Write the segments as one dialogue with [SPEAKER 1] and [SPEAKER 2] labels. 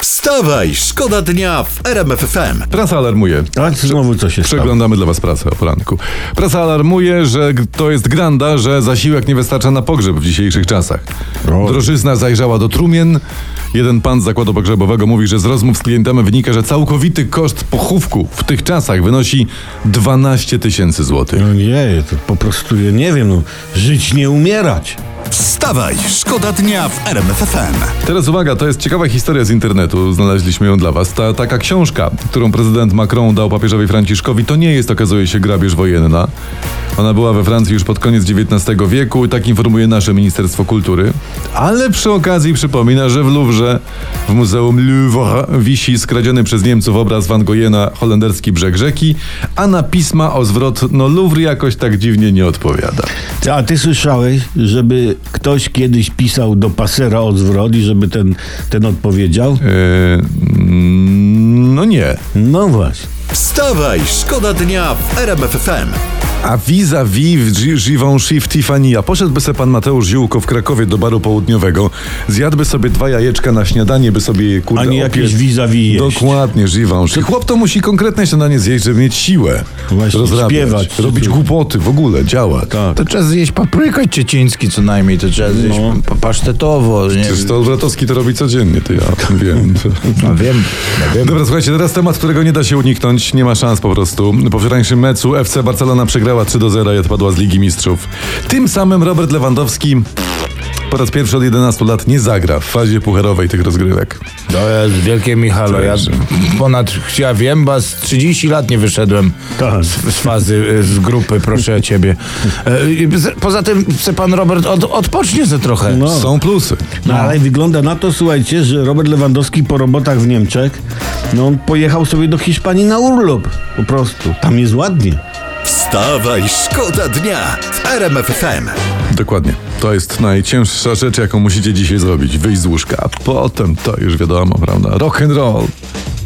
[SPEAKER 1] Wstawaj, szkoda dnia w RMF FM.
[SPEAKER 2] Prasa alarmuje.
[SPEAKER 3] Tak, znowu coś się stało.
[SPEAKER 2] Przeglądamy dla Was prasę o poranku. Prasa alarmuje, że g- to jest granda, że zasiłek nie wystarcza na pogrzeb w dzisiejszych czasach.
[SPEAKER 3] O.
[SPEAKER 2] Drożyzna zajrzała do trumien. Jeden pan z zakładu pogrzebowego mówi, że z rozmów z klientem wynika, że całkowity koszt pochówku w tych czasach wynosi 12 tysięcy złotych.
[SPEAKER 3] No nie, to po prostu ja nie wiem, no, żyć nie umierać.
[SPEAKER 1] Wstawaj, szkoda dnia w RMF FM.
[SPEAKER 2] Teraz uwaga, to jest ciekawa historia z internetu. Znaleźliśmy ją dla was. Ta taka książka, którą prezydent Macron dał papieżowi Franciszkowi, to nie jest, okazuje się, grabież wojenna. Ona była we Francji już pod koniec XIX wieku, tak informuje nasze Ministerstwo Kultury. Ale przy okazji przypomina, że w Louvre, w Muzeum Louvre, wisi skradziony przez Niemców obraz Van Goghena holenderski brzeg rzeki, a na pisma o zwrot no Louvre jakoś tak dziwnie nie odpowiada.
[SPEAKER 3] Ty- A ty słyszałeś, żeby ktoś kiedyś pisał do pasera odwrot i żeby ten, ten odpowiedział?
[SPEAKER 2] Yy, mm, no nie.
[SPEAKER 3] No właśnie.
[SPEAKER 1] Wstawaj, szkoda dnia w RMF FM.
[SPEAKER 2] A vis-a-vis Gi- Givenchy w Tiffany. A poszedłby se pan Mateusz Ziółko w Krakowie do baru południowego, zjadłby sobie dwa jajeczka na śniadanie, by sobie je kurde
[SPEAKER 3] A
[SPEAKER 2] opiec-
[SPEAKER 3] nie jakieś vis-a-vis jeść.
[SPEAKER 2] Dokładnie, Givenchy. Chłop to musi konkretne śniadanie zjeść, żeby mieć siłę.
[SPEAKER 3] Właśnie,
[SPEAKER 2] rozrabiać,
[SPEAKER 3] śpiewać.
[SPEAKER 2] Robić głupoty, w ogóle działać.
[SPEAKER 3] Tak.
[SPEAKER 4] No To trzeba zjeść paprykę cieciński co najmniej, to trzeba zjeść
[SPEAKER 3] No.
[SPEAKER 4] pa- pasztetowo. Nie
[SPEAKER 2] Przecież to Bratowski to robi codziennie, to ja wiem.
[SPEAKER 4] No wiem, no wiem.
[SPEAKER 2] Dobra, słuchajcie, teraz temat, którego nie da się uniknąć, nie ma szans po prostu. Po wczorajszym meczu FC Barcelona przegrała 3 do 0 i odpadła z Ligi Mistrzów. Tym samym Robert Lewandowski po raz pierwszy od 11 lat nie zagra w fazie pucharowej tych rozgrywek.
[SPEAKER 4] To jest wielkie Michalo. Ja ponad, ja wiem, bo z 30 lat nie wyszedłem
[SPEAKER 3] Tak.
[SPEAKER 4] z, z fazy, y, z grupy, proszę ciebie. E, i z- Poza tym, chce pan Robert, od, odpocznie ze trochę.
[SPEAKER 3] No.
[SPEAKER 2] Są plusy.
[SPEAKER 3] No, ale wygląda na to, słuchajcie, że Robert Lewandowski po robotach w Niemczech, no on pojechał sobie do Hiszpanii na urlop. Po prostu. Tam jest ładnie.
[SPEAKER 1] Wstawaj, szkoda dnia w RMF FM.
[SPEAKER 2] Dokładnie. To jest najcięższa rzecz, jaką musicie dzisiaj zrobić. Wyjść z łóżka, a potem to już wiadomo, prawda? Rock and roll.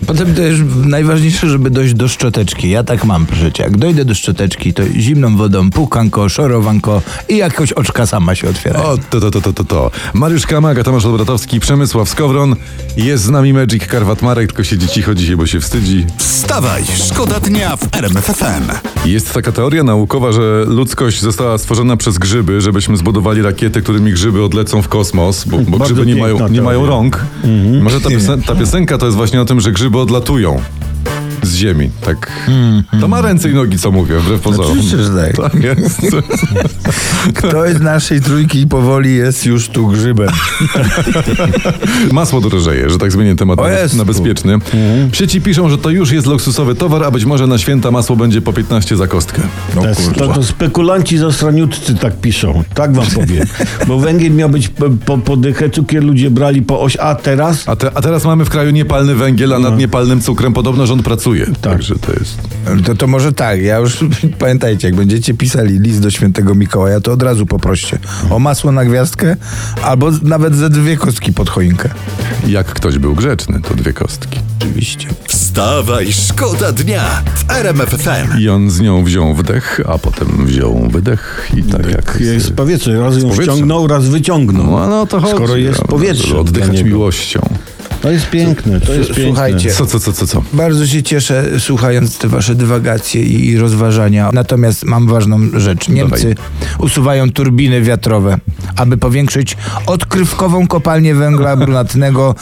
[SPEAKER 4] Potem też najważniejsze, żeby dojść do szczoteczki. Ja tak mam przy życiu. Jak dojdę do szczoteczki, to zimną wodą pukanko, szorowanko i jakoś oczka sama się otwierają.
[SPEAKER 2] O, to, to, to, to, to, to. Mariusz Kamaga, Tomasz Obratowski, Przemysław Skowron. Jest z nami Magic Karwat Marek, tylko siedzi cicho dzisiaj, bo się wstydzi.
[SPEAKER 1] Wstawaj, szkoda dnia w RMF FM.
[SPEAKER 2] Jest taka teoria naukowa, że ludzkość została stworzona przez grzyby, żebyśmy zbudowali rakiety, którymi grzyby odlecą w kosmos, bo, bo
[SPEAKER 3] Bardzo
[SPEAKER 2] grzyby nie
[SPEAKER 3] piękna
[SPEAKER 2] mają, nie mają
[SPEAKER 3] teoria.
[SPEAKER 2] rąk. Może ta, piosen- ta piosenka to jest właśnie o tym, że grzyby odlatują z ziemi, tak. To ma ręce i nogi, co mówię, wbrew pozorom.
[SPEAKER 4] Oczywiście, że tak.
[SPEAKER 2] Tak jest.
[SPEAKER 4] Ktoś z naszej trójki powoli jest już tu grzybem.
[SPEAKER 2] Masło drożeje, że tak zmienię temat
[SPEAKER 4] O
[SPEAKER 2] na-
[SPEAKER 4] Jezu.
[SPEAKER 2] na bezpieczny. W sieci piszą, że to już jest luksusowy towar, a być może na święta masło będzie po 15 za kostkę. No
[SPEAKER 3] To, jest- to, to spekulanci zastraniutcy tak piszą, tak wam powiem. Bo węgiel miał być po, po, po dychę, cukier ludzie brali po oś, a teraz
[SPEAKER 2] A, te, a teraz mamy w kraju niepalny węgiel, a
[SPEAKER 3] No.
[SPEAKER 2] nad niepalnym cukrem podobno rząd pracuje.
[SPEAKER 3] Tak.
[SPEAKER 2] Także to jest.
[SPEAKER 4] To, to może tak, ja już pamiętajcie, jak będziecie pisali list do świętego Mikołaja, to od razu poproście o masło na gwiazdkę albo nawet ze dwie kostki pod choinkę.
[SPEAKER 2] Jak ktoś był grzeczny, to dwie kostki.
[SPEAKER 4] Oczywiście.
[SPEAKER 1] Wstawaj, szkoda dnia w RMF FM.
[SPEAKER 2] I on z nią wziął wdech, a potem wziął wydech i tak jak.
[SPEAKER 3] jest z powietrza, raz ją
[SPEAKER 2] powietrzem.
[SPEAKER 3] ściągnął, raz wyciągnął.
[SPEAKER 2] No, no o to chodzi.
[SPEAKER 3] Skoro jest
[SPEAKER 2] prawda,
[SPEAKER 3] powietrze
[SPEAKER 2] żeby Oddychać
[SPEAKER 3] dla niego.
[SPEAKER 2] miłością.
[SPEAKER 3] To jest piękne, to jest
[SPEAKER 4] S-
[SPEAKER 3] piękne.
[SPEAKER 4] słuchajcie.
[SPEAKER 2] Co, co, co, co, co?
[SPEAKER 4] Bardzo się cieszę słuchając te wasze dywagacje i, i rozważania. Natomiast mam ważną rzecz. Niemcy usuwają turbiny wiatrowe, aby powiększyć odkrywkową kopalnię węgla brunatnego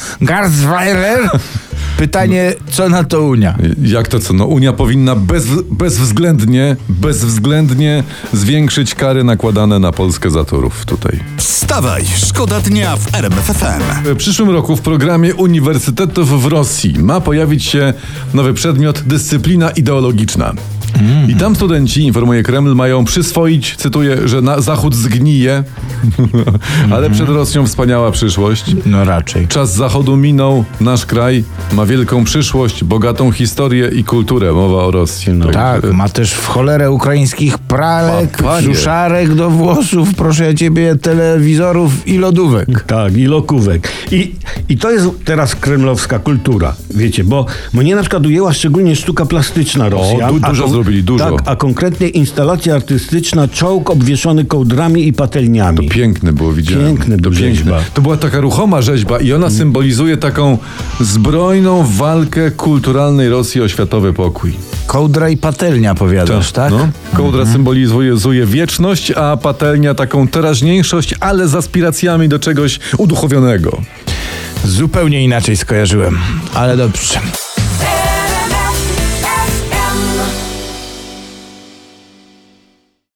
[SPEAKER 4] Garzweiler. Pytanie, co na to Unia?
[SPEAKER 2] Jak to co? No Unia powinna bez, bezwzględnie, bezwzględnie zwiększyć kary nakładane na Polskę za torów tutaj.
[SPEAKER 1] Wstawaj, szkoda dnia w RMF FM.
[SPEAKER 2] W przyszłym roku w programie uniwersytetów w Rosji ma pojawić się nowy przedmiot dyscyplina ideologiczna. I tam studenci, informuje Kreml, mają przyswoić, cytuję, że na Zachód zgnije, ale przed Rosją wspaniała przyszłość.
[SPEAKER 4] No raczej.
[SPEAKER 2] Czas Zachodu minął, nasz kraj ma ma wielką przyszłość, bogatą historię i kulturę. Mowa o Rosji. No.
[SPEAKER 4] Tak, ma też w cholerę ukraińskich pralek,
[SPEAKER 2] Pa, panie.
[SPEAKER 4] suszarek do włosów, proszę ja ciebie, telewizorów i lodówek.
[SPEAKER 3] Tak, i lokówek. I, I to jest teraz kremlowska kultura, wiecie, bo mnie na przykład ujęła szczególnie sztuka plastyczna Rosjan.
[SPEAKER 2] du-
[SPEAKER 3] a
[SPEAKER 2] dużo
[SPEAKER 3] kon-
[SPEAKER 2] zrobili, dużo.
[SPEAKER 3] Tak, a konkretnie instalacja artystyczna, czołg obwieszony kołdrami i patelniami.
[SPEAKER 2] Piękne było, widziałem.
[SPEAKER 3] Piękny
[SPEAKER 2] to
[SPEAKER 3] był rzeźba.
[SPEAKER 2] To była taka ruchoma rzeźba i ona symbolizuje taką zbrojną walkę kulturalnej Rosji o światowy pokój.
[SPEAKER 4] Kołdra i patelnia powiadasz, tak?
[SPEAKER 2] No. Kołdra
[SPEAKER 3] Mhm.
[SPEAKER 2] symbolizuje wieczność, a patelnia taką teraźniejszość, ale z aspiracjami do czegoś uduchowionego.
[SPEAKER 4] Zupełnie inaczej skojarzyłem, ale dobrze.